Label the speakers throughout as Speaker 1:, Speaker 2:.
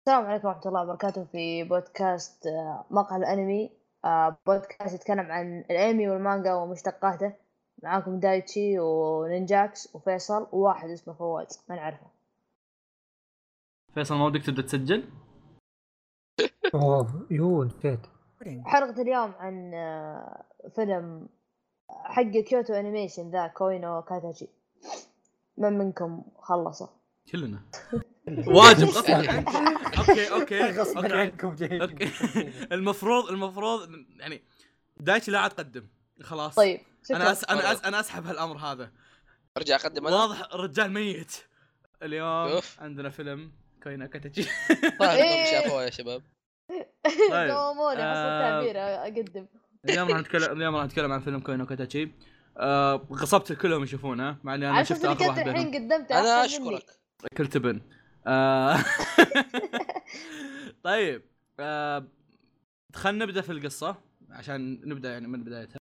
Speaker 1: السلام عليكم ورحمة الله وبركاته في بودكاست آه، مقهى الأنمي آه، بودكاست يتكلم عن الأنمي والمانجا ومشتقاته معاكم دايتشي ونينجاكس وفيصل وواحد اسمه فواز ما نعرفه
Speaker 2: فيصل ما ودك تبدا تسجل؟
Speaker 3: اوه يو نسيت
Speaker 1: حلقة اليوم عن آه، فيلم حق كيوتو أنيميشن ذا كوينو كاتاجي من منكم خلصه
Speaker 2: كلنا واجب غصبا عنك اوكي اوكي
Speaker 3: غصبا
Speaker 2: اوكي
Speaker 3: عنكم جايين
Speaker 2: اوكي المفروض المفروض يعني دايتشي لا عاد تقدم خلاص
Speaker 1: طيب
Speaker 2: انا
Speaker 1: شكرا
Speaker 2: أس... انا أس... انا اسحب هالامر هذا
Speaker 4: ارجع اقدم انا
Speaker 2: واضح الرجال ميت اليوم
Speaker 4: أوف.
Speaker 2: عندنا فيلم كوينا كاتشي
Speaker 4: طالعكم
Speaker 1: إيه.
Speaker 4: شافوه يا شباب
Speaker 2: طيب.
Speaker 1: دوموني حسب
Speaker 2: آه،
Speaker 1: التعبير أقدم
Speaker 2: اليوم راح نتكلم اليوم راح نتكلم عن فيلم كوينا كاتشي آه غصبت كلهم يشوفونه مع اني انا
Speaker 1: على أساس
Speaker 2: شفت
Speaker 1: إنك
Speaker 2: اخر
Speaker 1: أنت
Speaker 2: واحد بينهم
Speaker 1: الحين قدمت
Speaker 4: انا
Speaker 1: أحسن مني.
Speaker 4: اشكرك
Speaker 2: كل تبن آه، طيب آه، خلنا نبدا في القصه عشان نبدا يعني من بدايتها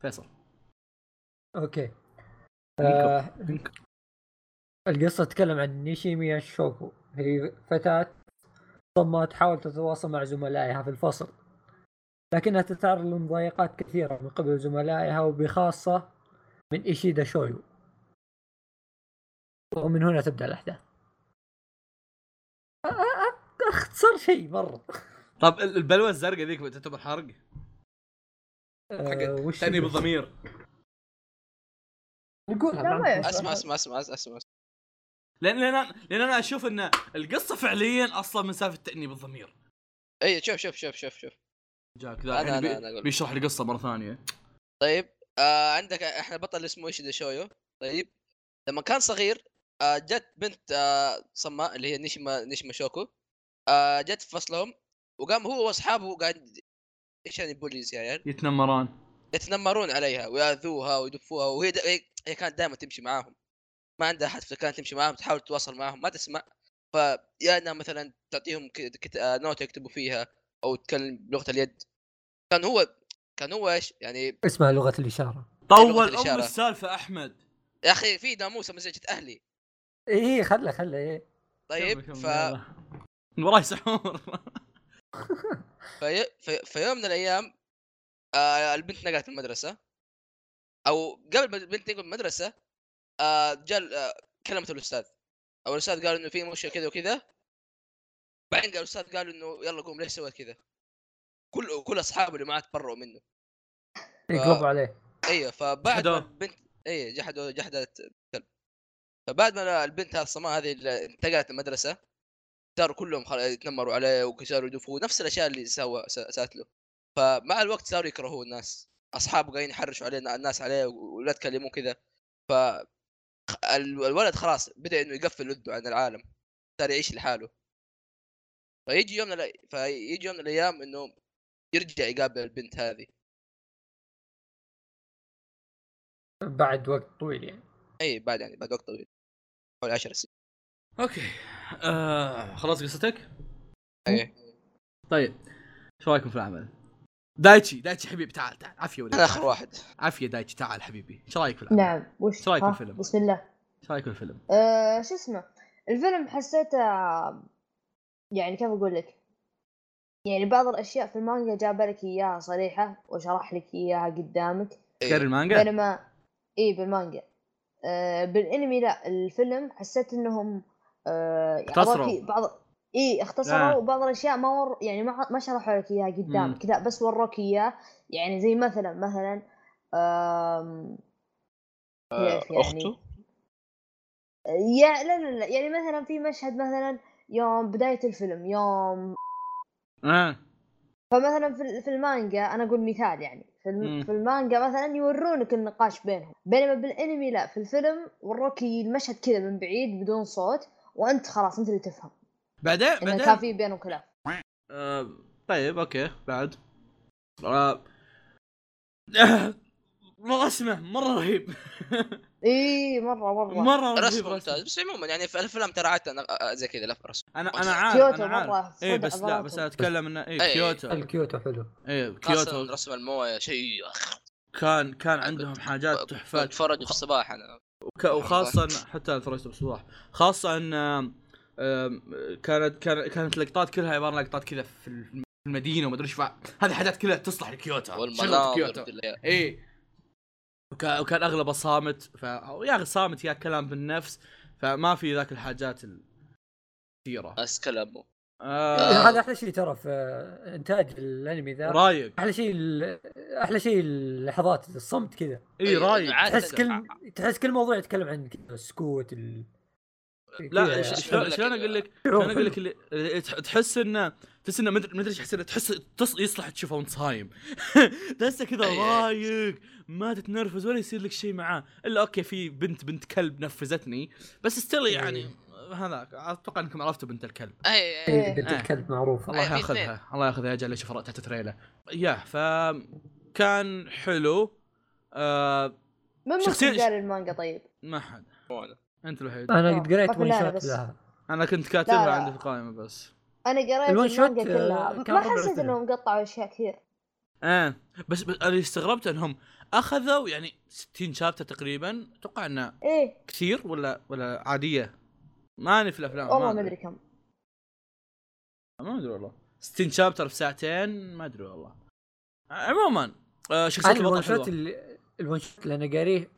Speaker 2: فيصل
Speaker 3: اوكي
Speaker 2: آه...
Speaker 3: القصه تتكلم عن نيشيميا شوكو هي فتاه ثم تحاول تتواصل مع زملائها في الفصل لكنها تتعرض لمضايقات كثيره من قبل زملائها وبخاصه من ايشيدا شويو ومن هنا تبدا الاحداث آه، آه، آه، اختصر شيء مره
Speaker 2: طب ال- البلوه الزرقاء ذيك تعتبر حرق
Speaker 3: آه، وش
Speaker 2: تاني
Speaker 3: يقول؟
Speaker 2: بالضمير
Speaker 3: نقولها
Speaker 1: لا،
Speaker 3: بعد.
Speaker 1: ما يعتبر.
Speaker 4: اسمع اسمع اسمع اسمع, أسمع.
Speaker 2: لان لان أنا- لان انا اشوف ان القصه فعليا اصلا من سالفه التانيب بالضمير
Speaker 4: اي إيه، شوف شوف شوف شوف شوف
Speaker 2: جاك ذا
Speaker 4: أنا-
Speaker 2: الحين
Speaker 4: أنا-
Speaker 2: بي-
Speaker 4: أنا أقول.
Speaker 2: بيشرح القصه مره ثانيه
Speaker 4: طيب آه عندك احنا بطل اسمه ايشيدا شويو طيب لما كان صغير آه جت بنت آه صماء اللي هي نيشما نيشما شوكو آه جت في فصلهم وقام هو واصحابه قاعد ايش يعني بوليز يعني
Speaker 2: يتنمران
Speaker 4: يتنمرون عليها وياذوها ويدفوها وهي دا... هي- هي كانت دائما تمشي معاهم ما عندها حد فكانت تمشي معاهم تحاول تتواصل معاهم ما تسمع فيا انها مثلا تعطيهم ك... كت... آه، نوتة يكتبوا فيها او تتكلم بلغه اليد كان هو كان هو ايش يعني
Speaker 3: اسمها لغه الاشاره
Speaker 4: لغة
Speaker 2: طول ام
Speaker 4: الإشارة.
Speaker 2: السالفه احمد
Speaker 4: يا اخي في ناموسه مزعجه اهلي
Speaker 3: ايه خله خله ايه
Speaker 2: كمل-
Speaker 4: طيب
Speaker 2: كمل،
Speaker 4: ف...
Speaker 2: يلا. من وراي سحور
Speaker 4: في... في... في يوم من الايام آه البنت نقلت من المدرسه او قبل ما البنت تنقل من المدرسه آه جاء آه كلمت الاستاذ او الاستاذ قال انه في مشكله كذا وكذا بعدين قال الاستاذ قال انه يلا قوم ليش سويت كذا كل كل اصحابه اللي معاه تبرؤوا منه آه.
Speaker 3: يقلبوا إيه، عليه
Speaker 4: ايوه فبعد
Speaker 2: جحدوه.
Speaker 4: ما البنت إيه، اي جحدوا جحدت الكلب فبعد ما البنت هذه الصماء هذه اللي انتقلت المدرسه صاروا كلهم خل... يتنمروا عليه وصاروا يدفوه نفس الاشياء اللي سوى س- سات له فمع الوقت صاروا يكرهوه الناس اصحابه قاعدين يحرشوا عليه الناس عليه و- ولا تكلموه كذا ف خ- ال- الولد خلاص بدا انه يقفل وده عن العالم صار يعيش لحاله فيجي يوم من الأي... فيجي يوم من الايام انه يرجع يقابل البنت هذه
Speaker 3: بعد وقت طويل يعني
Speaker 4: اي بعد يعني بعد وقت طويل حوالي 10 سنين
Speaker 2: اوكي آه خلاص قصتك؟
Speaker 4: ايه
Speaker 2: طيب شو رايكم في العمل؟ دايتشي دايتشي حبيبي تعال تعال عافيه
Speaker 4: انا
Speaker 2: ولا
Speaker 4: اخر واحد
Speaker 2: عافيه دايتشي تعال حبيبي شو رايك في العمل؟
Speaker 1: نعم وش
Speaker 2: إيش رأيك
Speaker 1: ها؟
Speaker 2: بالفيلم؟
Speaker 1: بسم الله
Speaker 2: شو رايك في الفيلم؟
Speaker 1: آه، شو اسمه الفيلم حسيته يعني كيف اقول لك يعني بعض الاشياء في المانجا جاب لك اياها صريحه وشرح لك اياها قدامك
Speaker 4: إيه.
Speaker 2: تقري المانجا؟
Speaker 1: بينما اي بالمانجا آه، بالانمي لا الفيلم حسيت انهم آه، يعني
Speaker 2: اختصروا.
Speaker 1: أعطوك بعض اي اختصروا
Speaker 2: آه.
Speaker 1: وبعض الاشياء ما ور... يعني ما ما شرحوا لك اياها قدامك لا بس وروك اياه يعني زي مثلا مثلا آم، كيف يعني؟
Speaker 4: اخته
Speaker 1: يا لا لا لا يعني مثلا في مشهد مثلا يوم بداية الفيلم يوم
Speaker 2: آه.
Speaker 1: فمثلا في ال- في المانجا انا اقول مثال يعني في الم-
Speaker 2: مم.
Speaker 1: في المانجا مثلا يورونك النقاش بينهم بينما بالانمي لا في الفيلم وروك المشهد كذا من بعيد بدون صوت وانت خلاص انت اللي تفهم
Speaker 2: بعدين
Speaker 1: انه كان
Speaker 2: بعدين
Speaker 1: في بينهم كلام
Speaker 2: آه. طيب اوكي بعد آه. رسمه مره رهيب
Speaker 1: اي مره مره
Speaker 2: مره رهيب
Speaker 4: رسم ممتاز
Speaker 2: رسمه
Speaker 4: بس عموما يعني في الفيلم ترى عادة أنا- آه، زي كذا لف رسم
Speaker 2: انا انا عارف
Speaker 1: كيوتو
Speaker 2: انا عارف
Speaker 1: مرة
Speaker 2: ايه
Speaker 1: صدع
Speaker 2: بس لا بس
Speaker 1: بناتهم.
Speaker 2: انا اتكلم انه ايه
Speaker 4: إيه.
Speaker 2: كيوتو
Speaker 3: الكيوتو حلو
Speaker 2: ايه
Speaker 4: كيوتو
Speaker 2: كيوتو
Speaker 4: رسم المويه شيء أخ،
Speaker 2: كان كان عندهم حاجات آه، تحفات
Speaker 4: اتفرج في الصباح انا
Speaker 2: وك- وخاصة إن- حتى فرجت بصباح خاصة ان آم، آم، كانت كان- كانت لقطات كلها عباره عن لقطات كذا في الم- في المدينه وما ادري ايش فا- هذه حاجات كلها تصلح لكيوتو شغلة
Speaker 4: والمناظر
Speaker 2: كيوتو
Speaker 4: بالله.
Speaker 2: اي وكان, وكان اغلبه صامت ف... يا اخي صامت يا كلام بالنفس فما في ذاك الحاجات الكثيره
Speaker 4: بس كلامه
Speaker 2: آه
Speaker 4: آه.
Speaker 3: هذا احلى شيء ترى في انتاج الانمي ذا
Speaker 2: رايق
Speaker 3: احلى شيء ال- احلى شيء اللحظات الصمت كذا
Speaker 2: اي رايق
Speaker 4: عادة-
Speaker 3: تحس كل تحس كل موضوع يتكلم عن كذا السكوت ال...
Speaker 2: لا
Speaker 3: كذا يعني.
Speaker 2: ش-
Speaker 4: إيش-
Speaker 2: شلون
Speaker 4: لك
Speaker 2: شلون
Speaker 4: ال-
Speaker 2: اقول لك
Speaker 3: شعور
Speaker 2: شلون اقول لك
Speaker 3: حلو.
Speaker 2: اللي- اللي تح- تحس انه تحس انه مدري مدري ايش احس إنه تحس تص... يصلح تشوفه وانت صايم تحسه كذا
Speaker 4: أي- أي.
Speaker 2: رايق ما تتنرفز ولا يصير لك شيء معاه الا اوكي في بنت بنت كلب نفذتني بس ستيل يعني هذاك اتوقع انكم عرفتوا بنت الكلب
Speaker 4: اي اي
Speaker 3: إيه، بنت
Speaker 2: إيه.
Speaker 3: الكلب معروفه
Speaker 2: الله
Speaker 4: أي، في
Speaker 2: ياخذها الله ياخذها اجل اشوف رأتها تتريله ياه ف كان حلو آه
Speaker 1: من
Speaker 2: شخصية-
Speaker 1: منكم قال المانجا طيب؟
Speaker 2: ما حد انت الوحيد
Speaker 3: انا
Speaker 1: آه،
Speaker 3: قد قريت
Speaker 1: ما في
Speaker 3: ون
Speaker 1: لعنة
Speaker 3: شوت
Speaker 1: بس.
Speaker 3: لها
Speaker 2: انا كنت
Speaker 1: لا،
Speaker 2: كاتبها
Speaker 1: لا.
Speaker 2: عندي في القائمه بس
Speaker 1: انا قريت
Speaker 3: الون شوت،
Speaker 1: المانجا كلها
Speaker 3: آه، كان
Speaker 1: ما
Speaker 3: ربع
Speaker 1: حسيت
Speaker 3: الفيلم.
Speaker 1: انهم قطعوا اشياء كثير
Speaker 2: ايه بس, بس اللي استغربت انهم اخذوا يعني 60 شابتر تقريبا اتوقع انه
Speaker 1: ايه
Speaker 2: كثير ولا ولا عاديه؟ ماني في الافلام
Speaker 1: والله ما ادري كم
Speaker 2: ما ادري والله 60 شابتر في ساعتين ما ادري والله عموما آه شخصيات
Speaker 3: انا الون
Speaker 2: البطل
Speaker 3: شوت
Speaker 2: حلوه
Speaker 3: اللي الون شوت اللي انا قاريه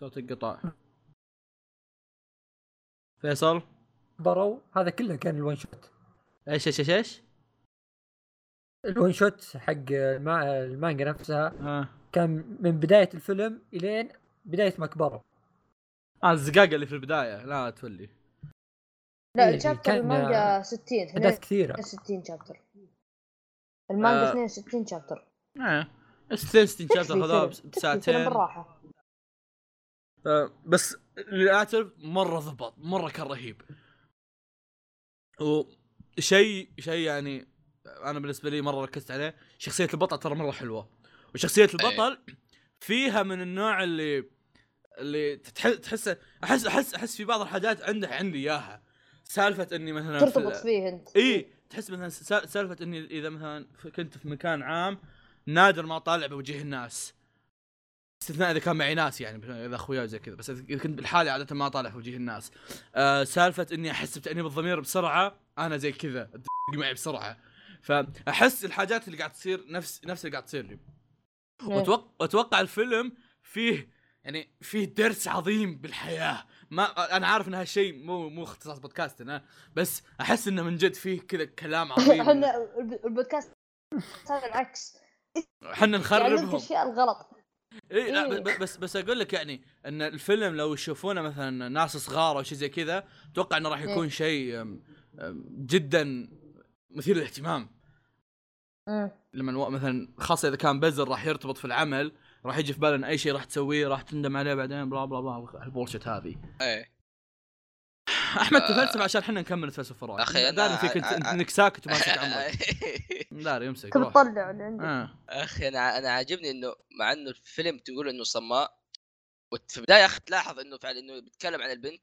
Speaker 2: صوت القطاع فيصل
Speaker 3: برو هذا كله كان الون شوت
Speaker 2: ايش ايش ايش ايش؟
Speaker 3: الون شوت حق الما- المانجا نفسها
Speaker 2: اه
Speaker 3: كان من بدايه الفيلم الين بدايه ما كبروا
Speaker 2: آه، الزقاقه اللي في البدايه لا تولي
Speaker 1: لا
Speaker 3: إيه،
Speaker 1: شابتر
Speaker 3: كان-
Speaker 1: المانجا 60
Speaker 2: إيه،
Speaker 3: احداث كثيره
Speaker 1: 62 شابتر المانجا
Speaker 2: آه.
Speaker 1: 62 شابتر
Speaker 2: ايه 60 60
Speaker 1: تكفي
Speaker 2: شابتر اخذوها
Speaker 1: فيلم.
Speaker 2: بس-
Speaker 1: تكفي فيلم
Speaker 2: بساعتين
Speaker 1: بالراحه
Speaker 2: آه، بس اللي اعترف مره ضبط مره كان رهيب وشيء شيء يعني انا بالنسبه لي مره ركزت عليه شخصيه البطل ترى مره حلوه وشخصيه البطل فيها من النوع اللي اللي تحس تحس احس احس احس في بعض الحاجات عنده عندي اياها سالفه اني مثلا في
Speaker 1: ترتبط
Speaker 2: ال-
Speaker 1: فيه انت
Speaker 2: اي تحس مثلا س- سالفه اني اذا مثلا ف- كنت في مكان عام نادر ما اطالع بوجه الناس استثناء اذا كان معي ناس يعني مثلاً اذا اخويا وزي كذا بس اذا إذا كنت بالحالي عاده ما اطالع في وجه الناس آه سالفه اني احس بتانيب الضمير بسرعه انا زي كذا الدق معي بسرعه فاحس الحاجات اللي قاعد تصير نفس نفس اللي قاعد تصير لي واتوقع واتوقع الفيلم فيه يعني فيه درس عظيم بالحياه ما انا عارف ان هالشيء مو مو اختصاص بودكاستنا بس احس انه من جد فيه كذا كلام عظيم
Speaker 1: احنا الب- البودكاست صار العكس
Speaker 2: احنا
Speaker 1: يعلمك
Speaker 2: نخربهم
Speaker 1: الاشياء الغلط
Speaker 2: اي لا
Speaker 1: إيه.
Speaker 2: ب- بس بس اقول لك يعني ان الفيلم لو يشوفونه مثلا ناس صغار او شيء زي كذا اتوقع انه راح
Speaker 1: إيه.
Speaker 2: يكون شيء أم، أم، جدا مثير للاهتمام
Speaker 1: مم.
Speaker 2: لما الو- مثلا خاصه اذا كان بزر راح يرتبط في العمل راح يجي في باله ان اي شيء راح تسويه راح تندم عليه بعدين بلا بلا بلا البولشت هذه
Speaker 4: اي
Speaker 2: احمد تفلسف عشان احنا نكمل نتفلسف وراك
Speaker 4: آه. أخي أنا-
Speaker 2: داري فيك انت
Speaker 4: أ- أ-
Speaker 2: انك ساكت وما تسكت عمرك داري امسك
Speaker 1: تبي
Speaker 2: روح
Speaker 1: تطلع اللي عندك
Speaker 2: آه.
Speaker 4: اخي انا انا عاجبني انه مع انه الفيلم تقول انه صماء وت- في البدايه اخي تلاحظ انه فعلا انه بيتكلم عن البنت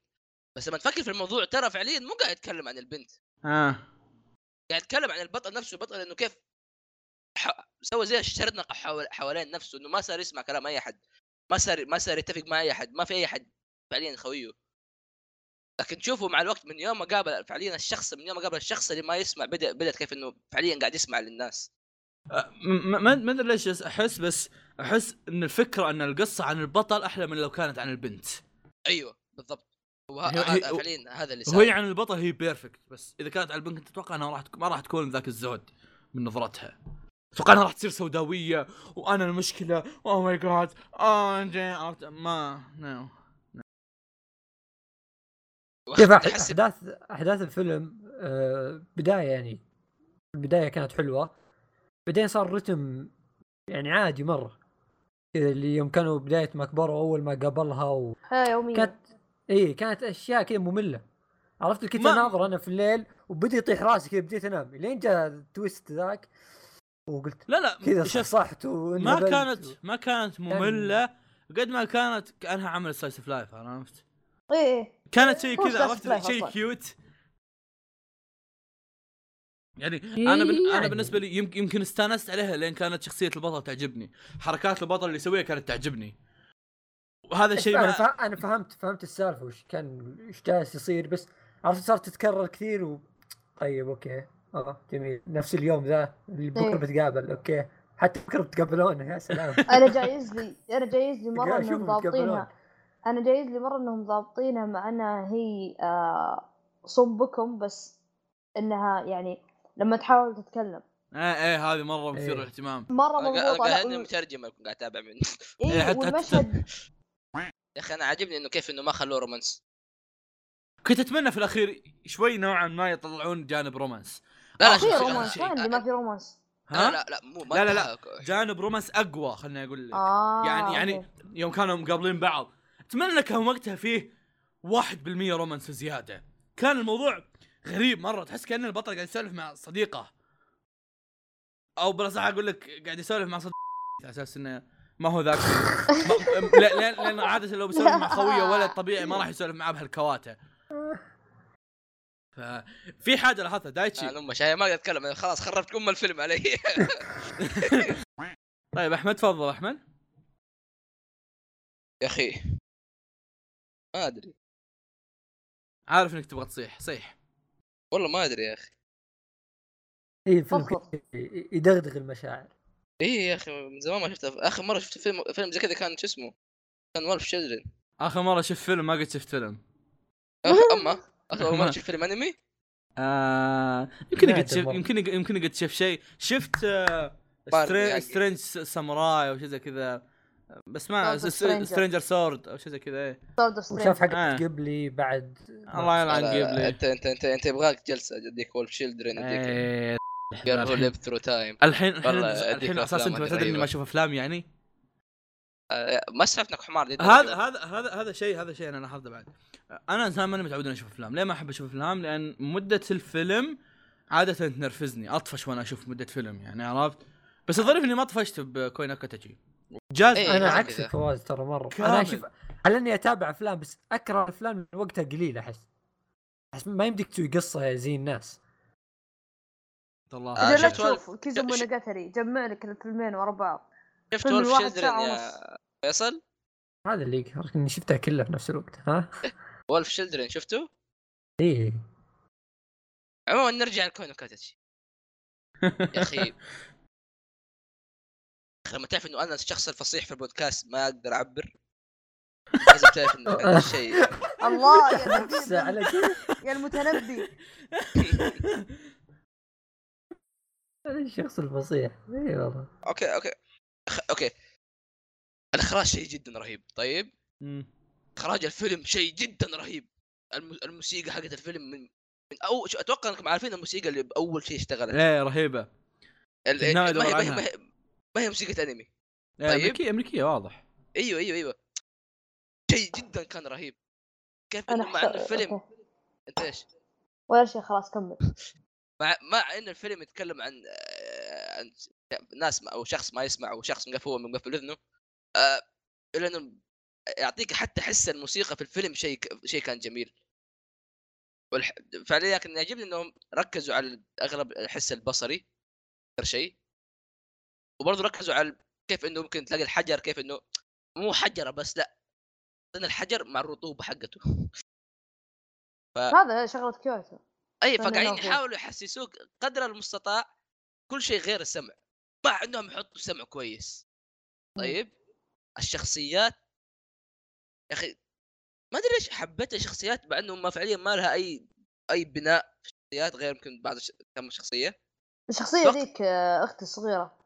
Speaker 4: بس لما تفكر في الموضوع ترى فعليا مو قاعد يتكلم عن البنت
Speaker 2: اه
Speaker 4: قاعد يتكلم عن البطل نفسه البطل انه كيف ح- سوى زي الشرنقه حول- حوالين نفسه انه ما صار يسمع كلام اي احد ما صار ما صار يتفق مع اي احد ما في اي احد فعليا خويه لكن تشوفه مع الوقت من يوم ما قابل فعليا الشخص من يوم ما قابل الشخص اللي ما يسمع بدا بدات كيف انه فعليا قاعد يسمع للناس
Speaker 2: م- م- ما ما ادري ليش بس احس بس احس ان الفكره ان القصه عن البطل احلى من لو كانت عن البنت
Speaker 4: ايوه بالضبط
Speaker 2: هي-
Speaker 4: وه-
Speaker 2: هي- يعني
Speaker 4: هذا فعليا هذا اللي
Speaker 2: وهي
Speaker 4: صار
Speaker 2: عن البطل هي بيرفكت بس اذا كانت على البنت كنت اتوقع انها راح تك- ما راح تكون ذاك الزود من نظرتها اتوقع انها راح تصير سوداويه وانا المشكله اوه ماي جاد آه، ما نو
Speaker 3: كيف أح-
Speaker 4: تحس
Speaker 3: احداث احداث الفيلم آه، بدايه يعني البدايه كانت حلوه بعدين صار رتم يعني عادي مره كذا اللي يوم كانوا بدايه ما كبروا اول ما قابلها و...
Speaker 1: ها يوميا
Speaker 3: كانت اي كانت اشياء كذا ممله عرفت كنت
Speaker 2: ما-
Speaker 3: اناظر انا في الليل وبدي يطيح راسي كذا بديت انام لين جاء التويست ذاك وقلت
Speaker 2: لا لا
Speaker 3: كذا
Speaker 2: شوف،
Speaker 3: صحصحت
Speaker 2: ما
Speaker 3: وانهبلت
Speaker 2: كانت
Speaker 3: و-
Speaker 2: ما كانت ممله قد ما كانت كانها عمل سايس اوف لايف عرفت؟
Speaker 1: ايه ايه
Speaker 2: كانت شيء
Speaker 1: هو
Speaker 2: كذا
Speaker 1: slice of
Speaker 2: عرفت
Speaker 1: life
Speaker 2: شيء
Speaker 1: أصلاً.
Speaker 2: كيوت يعني انا بن... انا
Speaker 3: يعني.
Speaker 2: بالنسبه لي يمكن يمكن استانست عليها لان كانت شخصيه البطل تعجبني، حركات البطل اللي يسويها كانت تعجبني. وهذا الشيء
Speaker 3: انا,
Speaker 2: ما
Speaker 3: فا... أنا فهمت فهمت السالفه وش كان وش جالس يصير بس عرفت صارت تتكرر كثير و طيب اوكي اه جميل نفس اليوم ذا اللي بكره
Speaker 1: إيه.
Speaker 3: بتقابل اوكي حتى بكره بتقابلونه يا سلام
Speaker 1: انا جايز لي انا جايز لي مره
Speaker 3: قاعد أشوف
Speaker 1: انهم
Speaker 3: بيتقابلون.
Speaker 1: ضابطينها انا جايز لي مره انهم ضابطينها مع انها هي آه صبكم بس انها يعني لما تحاول تتكلم
Speaker 2: ايه ايه هذه مره مثير
Speaker 3: إيه.
Speaker 2: للاهتمام
Speaker 1: مره
Speaker 4: انا قا- أنا
Speaker 1: مضبوطه لا،
Speaker 4: قاعد هني
Speaker 1: وال-
Speaker 4: مترجم قاعد اتابع منه
Speaker 2: إيه،
Speaker 1: إيه
Speaker 2: حتى-
Speaker 1: والمشهد
Speaker 4: يا اخي انا عاجبني انه كيف انه ما خلوه رومانس
Speaker 2: كنت اتمنى في الاخير شوي نوعا ما يطلعون جانب رومانس
Speaker 4: لا
Speaker 2: في
Speaker 1: في
Speaker 4: شوف- شوف-
Speaker 1: رومانس
Speaker 4: شيء.
Speaker 1: وين اللي ما في رومانس
Speaker 2: ها
Speaker 4: لا لا لا مو ما
Speaker 2: لا، لا،
Speaker 4: لا
Speaker 2: جانب رومانس اقوى خلنا اقول لك
Speaker 1: اه
Speaker 2: يعني يعني
Speaker 1: أوكي.
Speaker 2: يوم كانوا مقابلين بعض اتمنى كان وقتها فيه 1% رومانس زياده كان الموضوع غريب مره تحس كان البطل قاعد يسولف مع صديقه او بالاصح اقول لك قاعد يسولف مع صديقه على اساس انه ما هو ذاك ما- لا- لان لان عاده لو بيسولف مع خويه ولد طبيعي ما راح يسولف معاه بهالكواته ففي حاجه لاحظتها دايتشي
Speaker 4: انا امه شايف ما اقدر اتكلم أنا خلاص خربت ام الفيلم علي
Speaker 2: طيب احمد تفضل احمد
Speaker 4: يا اخي ما ادري
Speaker 2: عارف انك تبغى تصيح صيح
Speaker 4: والله ما ادري يا اخي
Speaker 3: اي إيه، فيلم
Speaker 1: تفضل.
Speaker 3: كذا ي- يدغدغ المشاعر
Speaker 4: ايه يا اخي من زمان ما شفته اخر مره شفت فيلم فيلم زي كذا كان شو اسمه كان والف شجرن
Speaker 2: اخر مره شفت فيلم ما قد شفت فيلم
Speaker 4: اما اخر مره شفت فيلم انمي
Speaker 2: آه، يمكن قد
Speaker 3: نادر
Speaker 2: شف
Speaker 3: مرة.
Speaker 2: يمكن يمكن قد شف شيء شفت آه،
Speaker 4: بارد
Speaker 2: ستري-
Speaker 4: يعني.
Speaker 2: سترينج س- ساموراي او شيء زي كذا بس ما
Speaker 1: Sword of Stranger.
Speaker 2: سترينجر سورد او شيء زي كذا إيه.
Speaker 1: Sword of
Speaker 3: وشاف
Speaker 1: Strange.
Speaker 2: آه.
Speaker 3: حق قبلي بعد
Speaker 4: آه،
Speaker 2: الله يلعن
Speaker 4: لا، لا،
Speaker 2: قبلي
Speaker 4: انت انت انت انت يبغاك جلسه اديك والف شجرن اديك
Speaker 2: إيه،
Speaker 4: جربوا
Speaker 2: الحين
Speaker 4: ليف ثرو تايم
Speaker 2: الحين الحين,
Speaker 4: والله أديك
Speaker 2: الحين اساسا
Speaker 4: أفلام
Speaker 2: انت معتذر اني
Speaker 4: رهيبة.
Speaker 2: ما اشوف افلام يعني
Speaker 4: ما سالفتك حمار دي
Speaker 2: هذا هذا هذا هذا شيء هذا شيء انا لاحظته بعد انا انسان ماني متعود اني اشوف افلام ليه ما احب اشوف افلام لان مده الفيلم عاده تنرفزني اطفش وانا اشوف مده فيلم يعني عرفت بس الظريف اني ما طفشت بكوين كاتاجي جاز
Speaker 4: إيه،
Speaker 3: انا
Speaker 4: مرة
Speaker 3: عكسك
Speaker 4: كذا.
Speaker 3: فواز ترى مره
Speaker 2: كامل.
Speaker 3: انا اشوف على اني اتابع افلام بس اكره افلام من وقتها قليل احس احس ما يمديك تسوي قصه زي الناس
Speaker 2: الله
Speaker 4: آه،
Speaker 1: اجل لا
Speaker 4: شفت ولا-
Speaker 1: تشوف كيزو
Speaker 4: ش-
Speaker 1: مونوجاتري جمع لك الفيلمين ورا بعض
Speaker 4: شفت
Speaker 1: فيلم
Speaker 4: والف
Speaker 1: الواحد
Speaker 4: شجرن
Speaker 1: ساعة
Speaker 4: يا فيصل
Speaker 3: هذا اللي يقهرك اني شفتها كلها في نفس الوقت ها
Speaker 4: والف شلدرن شفته؟
Speaker 3: ايه
Speaker 4: عموما نرجع لكونو كاتاتشي يا اخي يا أخي لما تعرف انه انا الشخص الفصيح في البودكاست ما اقدر اعبر لازم تعرف انه هذا الشيء
Speaker 1: الله يا
Speaker 3: نفسه
Speaker 1: نبيل،
Speaker 3: على كذا
Speaker 1: يا المتنبي
Speaker 3: أنا الشخص الفصيح اي والله
Speaker 4: اوكي اوكي أخ- اوكي الاخراج شيء جدا رهيب طيب
Speaker 2: مم.
Speaker 4: اخراج الفيلم شيء جدا رهيب الم- الموسيقى حقت الفيلم من من اول شو اتوقع انكم عارفين الموسيقى اللي باول شيء اشتغلت
Speaker 2: ايه رهيبه
Speaker 4: ال-
Speaker 2: إنها
Speaker 4: ما
Speaker 2: دور
Speaker 4: هي ما هي-
Speaker 2: عنها.
Speaker 4: ما هي- ما هي موسيقى انمي
Speaker 2: إيه
Speaker 4: طيب.
Speaker 2: امريكيه امريكيه واضح
Speaker 4: ايوه ايوه ايوه شيء جدا كان رهيب كيف
Speaker 1: انا
Speaker 4: انه مع ان
Speaker 1: أحس-
Speaker 4: الفيلم
Speaker 1: أوكي.
Speaker 4: انت ايش
Speaker 1: ولا شيء خلاص كمل
Speaker 4: مع مع ان الفيلم يتكلم عن آه، عن س- ناس ما او شخص ما يسمع او شخص مقفول مقفل اذنه آه، الا انه يعطيك حتى حس الموسيقى في الفيلم شيء ك- شيء كان جميل والح... فعليا لكن يعجبني انهم ركزوا على اغلب الحس البصري اكثر شيء وبرضه ركزوا على كيف انه ممكن تلاقي الحجر كيف انه مو حجره بس لا لان الحجر مع الرطوبه حقته
Speaker 1: هذا شغله كيوتو
Speaker 4: اي
Speaker 1: فاهم إنه
Speaker 4: فقاعدين
Speaker 1: هو.
Speaker 4: يحاولوا يحسسوك قدر المستطاع كل شيء غير السمع ما عندهم يحطوا سمع كويس
Speaker 1: مم.
Speaker 4: طيب الشخصيات يا اخي ما ادري ليش حبيت الشخصيات مع انهم ما فعليا ما لها اي اي بناء في الشخصيات غير يمكن بعض الش- كم شخصيه
Speaker 1: الشخصيه
Speaker 4: وقت-
Speaker 1: ذيك آه، اختي الصغيره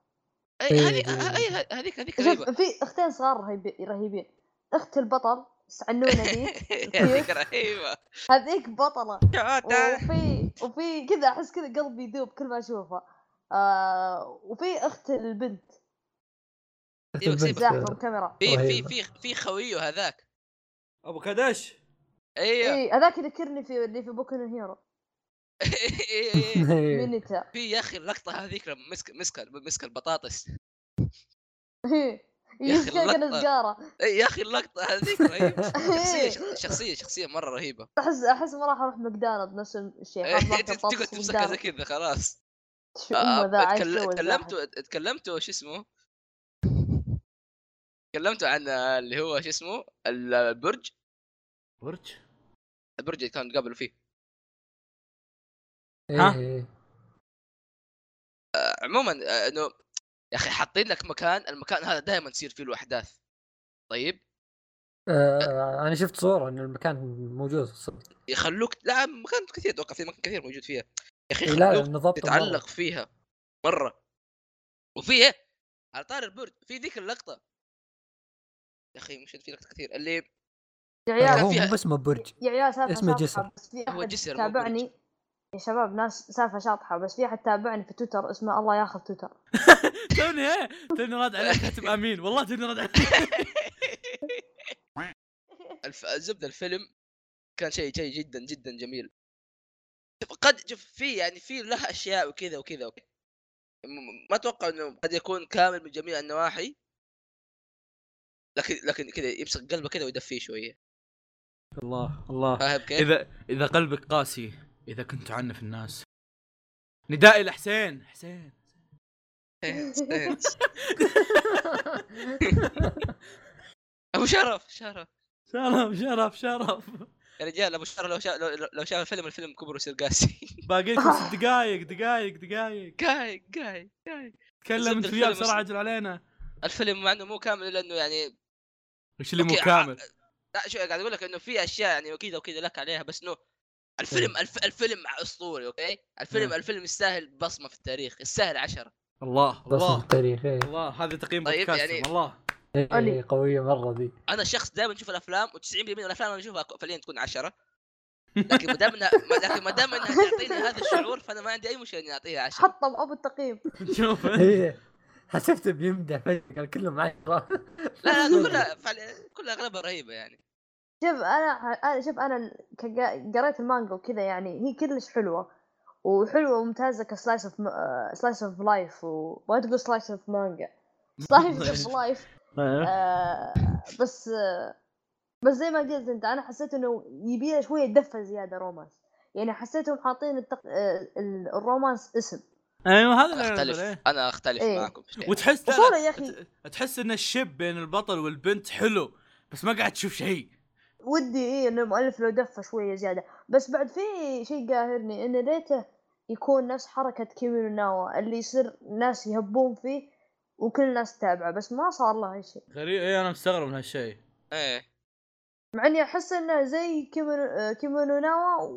Speaker 4: اي
Speaker 3: إيه،
Speaker 4: هذه
Speaker 3: إيه،
Speaker 4: ه- أي- هذيك هذيك
Speaker 1: شوف
Speaker 4: رهيبه
Speaker 1: في اختين صغار رهيب- رهيبين اخت البطل سعنونه ذي
Speaker 4: هذيك رهيبه
Speaker 1: هذيك بطله
Speaker 4: تعال
Speaker 1: وفي وفي كذا احس كذا قلبي يذوب كل ما اشوفها آه وفي اخت البنت
Speaker 4: سيبك سيبك
Speaker 3: بس-
Speaker 1: زاحفه الكاميرا
Speaker 4: في في
Speaker 3: رهيبة.
Speaker 4: في في خويه هذاك
Speaker 2: ابو كدش
Speaker 4: ايوه
Speaker 1: اي هذاك يذكرني في اللي في بوكو نو هيرو
Speaker 4: إيه، إيه، إيه.
Speaker 1: مينيتا
Speaker 4: في يا اخي اللقطه هذيك لما مسك مسك مسك البطاطس
Speaker 1: يجي كان
Speaker 4: اللقطة.
Speaker 1: سجاره
Speaker 4: اي يا اخي اللقطه هذيك
Speaker 3: إيه،
Speaker 4: رهيبه شخصيه شخ- شخصيه شخصيه مره رهيبه
Speaker 1: احس احس ما راح اروح ماكدونالد نفس الشيء
Speaker 4: إيه،
Speaker 1: خلاص ما أروح
Speaker 4: تقعد
Speaker 1: بطاطس
Speaker 4: تمسكها زي
Speaker 1: ماكدونالدز.
Speaker 4: كذا خلاص آه،
Speaker 1: شو أمه ذا عايش
Speaker 4: تكل-
Speaker 1: سوى
Speaker 4: تكلمتوا تكلمتوا شو اسمه تكلمتوا عن اللي هو شو اسمه البرج
Speaker 2: برج
Speaker 4: البرج اللي كانوا قبلوا فيه
Speaker 2: ها؟
Speaker 3: إيه.
Speaker 4: آه، عموما آه، انه يا اخي حاطين لك مكان المكان هذا دائما تصير فيه له احداث طيب
Speaker 3: آه، انا شفت صوره ان المكان موجود صدق
Speaker 4: يخلوك لا مكان كثير اتوقع في مكان كثير موجود فيها يا اخي
Speaker 3: إيه، لا
Speaker 4: يخلوك
Speaker 3: نظبط
Speaker 4: تتعلق فيها مره وفي ايه على طاري البرج في ذيك اللقطه يا اخي مش في لقطات كثير اللي
Speaker 1: يا
Speaker 4: لا،
Speaker 1: عيال
Speaker 3: هو
Speaker 4: فيها-
Speaker 3: مو اسمه برج
Speaker 1: يا عيال سالفه
Speaker 3: اسمه
Speaker 1: شاطحة،
Speaker 3: جسر.
Speaker 1: بس في
Speaker 4: هو
Speaker 1: أحد
Speaker 4: جسر مو برج.
Speaker 1: تابعني يا شباب ناس سالفه شاطحه بس في احد تابعني في تويتر اسمه الله ياخذ تويتر
Speaker 2: توني ايه توني راد عليك كاتب امين والله توني راد عليك
Speaker 4: الف... الزبده الفيلم كان شيء شيء جدا جدا جميل شوف، قد شوف في يعني في له اشياء وكذا وكذا وكذا م- م- ما اتوقع انه قد يكون كامل من جميع النواحي لكن لكن كذا يمسك قلبه كذا ويدفيه شويه
Speaker 2: الله الله
Speaker 4: فاهم كيف؟
Speaker 2: اذا اذا قلبك قاسي اذا كنت تعنف الناس ندائي لحسين حسين
Speaker 4: إيه، ابو شرف شرف
Speaker 2: شرف شرف شرف
Speaker 4: يا رجال ابو شرف لو شاف لو- لو شاف الفيلم الفيلم كبر ويصير قاسي
Speaker 2: باقي لكم ست دقائق دقائق دقائق
Speaker 4: قاي قاي قاي
Speaker 2: تكلم
Speaker 4: زبد
Speaker 2: انت وياه
Speaker 4: الفيلم
Speaker 2: بسرعه
Speaker 4: أصلاً.
Speaker 2: اجل علينا
Speaker 4: الفيلم مع انه مو كامل لانه يعني
Speaker 2: وش اللي مو
Speaker 4: أوكي،
Speaker 2: كامل
Speaker 4: لا شو قاعد اقول لك انه في اشياء يعني وكذا وكذا لك عليها بس انه الفيلم الف... الفيلم اسطوري اوكي الفيلم
Speaker 2: نعم.
Speaker 4: الفيلم يستاهل بصمه في التاريخ يستاهل عشرة
Speaker 2: الله
Speaker 3: رسم
Speaker 2: الله
Speaker 3: التاريخ إيه.
Speaker 2: الله هذا تقييم
Speaker 4: طيب،
Speaker 2: بودكاستهم
Speaker 4: يعني-
Speaker 2: الله
Speaker 1: أولي.
Speaker 3: إيه، قويه مره ذي
Speaker 4: انا شخص دائما اشوف الافلام و90% من الافلام انا اشوفها فعليا تكون عشرة لكن ما دام انها ما- لكن ما دام انها تعطيني هذا الشعور فانا ما عندي اي مشكله اني اعطيها عشرة
Speaker 1: حطم ابو التقييم
Speaker 2: شوف
Speaker 3: إيه. حسبته بيمدح فجاه قال كلهم معي
Speaker 4: لا لا كلها فعليا كلها اغلبها رهيبه يعني
Speaker 1: شوف انا انا شوف انا كجا- قريت المانجا وكذا يعني هي كلش حلوه وحلوه وممتازه كسلايس اوف سلايس اوف لايف وما تقول سلايس اوف مانجا سلايس اوف لايف بس آه، بس زي ما قلت انت انا حسيت انه يبيله شويه دفه زياده رومانس يعني حسيتهم حاطين التق... آه، ال- الرومانس اسم
Speaker 2: ايوه هذا
Speaker 4: انا
Speaker 2: اللي أنا أقول،
Speaker 4: اختلف
Speaker 2: إيه.
Speaker 4: انا اختلف
Speaker 1: إيه.
Speaker 4: معكم في شيء.
Speaker 2: وتحس لا،
Speaker 1: وصوره
Speaker 2: لا،
Speaker 1: يا أخي.
Speaker 2: ت- تحس ان الشب بين البطل والبنت حلو بس ما قاعد تشوف شيء
Speaker 1: ودي ايه انه المؤلف لو دفه شويه زياده بس بعد في شيء قاهرني انه ليته يكون نفس حركه كيمينو ناوا اللي يصير ناس يهبون فيه وكل الناس تتابعه بس ما صار له شيء
Speaker 2: غريب اي انا مستغرب من هالشيء
Speaker 4: ايه
Speaker 1: مع اني احس انه زي كيمينو آه، كيمينو ناوا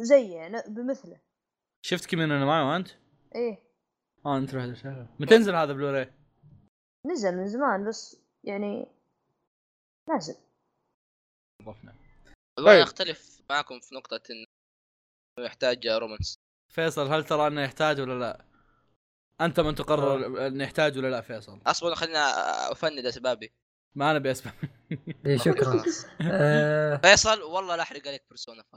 Speaker 1: وزيه يعني بمثله
Speaker 2: شفت كيمينو انا معي وانت؟
Speaker 1: ايه
Speaker 2: اه انت رحت شايفه. متى ينزل هذا بلوراي؟
Speaker 1: نزل من زمان بس يعني نازل
Speaker 2: ضفنا
Speaker 4: والله أنا
Speaker 2: طيب.
Speaker 4: اختلف معكم في نقطه انه يحتاج رومانس
Speaker 2: فيصل هل ترى انه يحتاج ولا لا؟ انت من تقرر انه يحتاج ولا لا فيصل؟
Speaker 4: اصبر خلينا افند اسبابي
Speaker 2: ما انا باسباب
Speaker 3: إيه، شكرا
Speaker 4: خلاص.
Speaker 3: آه،
Speaker 4: فيصل والله لا احرق عليك بيرسونا فايف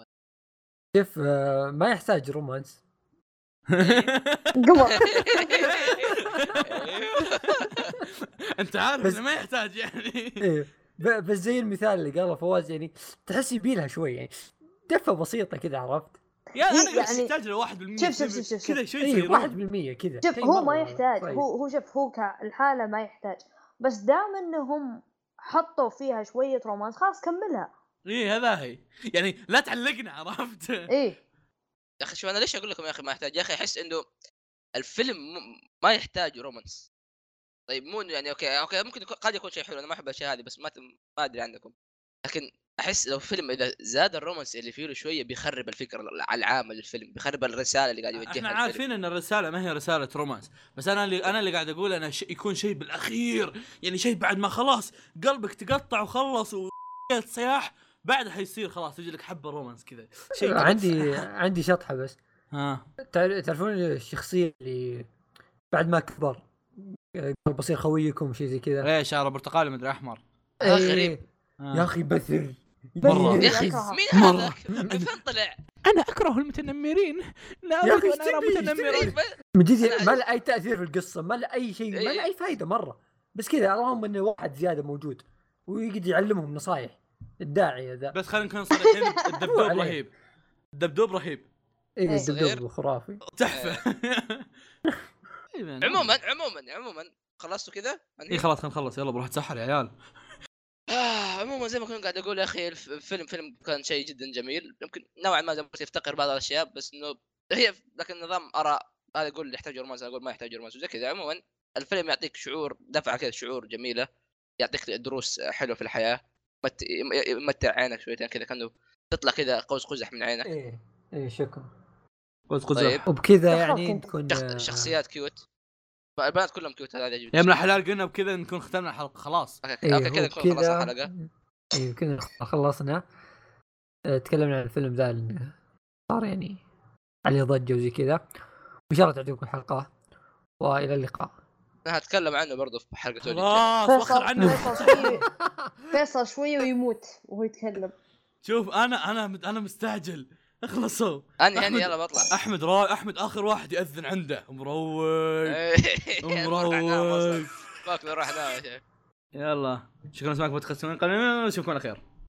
Speaker 3: شوف آه، ما يحتاج رومانس
Speaker 1: قمر
Speaker 2: انت عارف
Speaker 3: بس-
Speaker 2: انه ما يحتاج يعني
Speaker 3: إيه، ب- بس زي المثال اللي قاله فواز يعني تحس يبيلها شوي يعني دفه بسيطه كذا عرفت؟
Speaker 2: يا انا
Speaker 1: يعني-
Speaker 2: يعني يحتاج ل 1%
Speaker 1: شوف- شوف- شوف- شوف- إيه،
Speaker 2: كذا شوي
Speaker 3: اي
Speaker 2: يصير
Speaker 3: 1% إيه، كذا
Speaker 1: شوف
Speaker 3: شيء
Speaker 1: هو
Speaker 3: إيه، مرة طيب.
Speaker 1: ما يحتاج
Speaker 3: صغير.
Speaker 1: هو هو شوف هو كالحالة ما يحتاج بس دام انهم حطوا فيها شوية رومانس خلاص كملها
Speaker 2: اي هذا هي يعني لا تعلقنا عرفت؟
Speaker 1: ايه
Speaker 4: يا اخي شو انا ليش اقول لكم يا اخي ما يحتاج يا اخي احس انه الفيلم م- ما يحتاج رومانس طيب مو إنه يعني اوكي اوكي ممكن يكون- قد يكون شيء حلو انا ما احب الاشياء هذه بس ما ت- ما ادري عنكم لكن احس لو فيلم اذا زاد الرومانس اللي فيه له شويه بيخرب الفكره الع- العامه للفيلم بيخرب الرساله اللي قاعد يوجهها
Speaker 2: احنا
Speaker 4: الفيلم.
Speaker 2: عارفين ان الرساله ما هي رساله رومانس بس انا اللي انا اللي قاعد اقول انا ش... يكون شيء بالاخير يعني شيء بعد ما خلاص قلبك تقطع وخلص و صياح بعدها حيصير خلاص يجي لك حبه رومانس كذا شيء كذا.
Speaker 3: عندي عندي شطحه بس
Speaker 2: ها
Speaker 3: تع- تعرفون الشخصيه اللي بعد ما كبر آه، قال بصير خويكم شيء زي كذا
Speaker 2: ايه شعره برتقالي مدري احمر
Speaker 4: آه،
Speaker 3: إيه،
Speaker 4: غريب.
Speaker 2: ها.
Speaker 3: يا اخي بثر
Speaker 2: مرة.
Speaker 1: يا
Speaker 3: بثر.
Speaker 4: يا اخي
Speaker 1: أكرهها.
Speaker 4: مين
Speaker 2: مرة.
Speaker 4: هذا؟ من فين طلع؟
Speaker 2: انا اكره المتنمرين لا
Speaker 3: يا أخي أريد أن إيش أرى تبي؟ إيش متنمراً. تبي؟
Speaker 4: إيه،
Speaker 2: متنمرين
Speaker 4: ب-
Speaker 3: من جد ما له اي تاثير في القصه ما له اي شيء ما
Speaker 4: إيه.
Speaker 3: له اي فائده مره بس كذا اللهم انه واحد زياده موجود ويقعد يعلمهم نصايح الداعيه ذا
Speaker 2: بس خلينا نكون صريحين الدبدوب
Speaker 3: عليه.
Speaker 2: رهيب الدبدوب رهيب
Speaker 3: اي
Speaker 1: إيه.
Speaker 3: الدبدوب خرافي
Speaker 2: تحفه
Speaker 4: عموما عموما عموما خلصتوا كذا؟ يعني
Speaker 2: اي خلاص خلينا نخلص يلا بروح اتسحر يا عيال
Speaker 4: آه عموما زي ما كنت قاعد اقول يا اخي الف- الفيلم فيلم كان شيء جدا جميل يمكن نوعا ما زي ما قلت يفتقر بعض الاشياء بس انه هي لكن نظام اراء هذا يقول اللي يحتاج رومانس هذا يقول ما يحتاج رومانس وزي كذا عموما الفيلم يعطيك شعور دفعه كذا شعور جميله يعطيك دروس حلوه في الحياه مت- يم- يمتع عينك شويتين كذا كانه تطلع كذا قوس قزح من عينك
Speaker 3: ايه ايه شكرا
Speaker 2: قوز قوز
Speaker 4: طيب.
Speaker 3: وبكذا
Speaker 1: دخلت
Speaker 3: يعني
Speaker 1: انت.
Speaker 3: تكون
Speaker 4: شخ- شخصيات كيوت البنات كلهم كيوت هذا يعجبني
Speaker 2: يا ابن الحلال قلنا بكذا نكون ختمنا الحلقه خلاص
Speaker 4: اوكي
Speaker 3: إيه
Speaker 4: اوكي كذا نكون خلصنا الحلقه
Speaker 3: ايه كذا خلصنا آه، تكلمنا عن الفيلم ذا اللي صار يعني عليه ضجه وزي كذا وان شاء الله تعجبكم الحلقه والى اللقاء
Speaker 4: انا هتكلم عنه برضه في حلقه الجاية.
Speaker 2: خلاص وخر
Speaker 1: فيصل
Speaker 2: عنه
Speaker 1: فيصل شوي فيصل شوي ويموت وهو يتكلم
Speaker 2: شوف انا انا انا مستعجل اخلصوا
Speaker 4: انا
Speaker 2: أحمد-
Speaker 4: هني يعني يلا بطلع
Speaker 2: احمد را... احمد اخر واحد ياذن عنده مروق
Speaker 4: نروح نام
Speaker 2: مروق
Speaker 4: اصلا فاك نروح نام يا شيخ
Speaker 2: يلا شكرا لسماعكم بودكاست من قبل نشوفكم على خير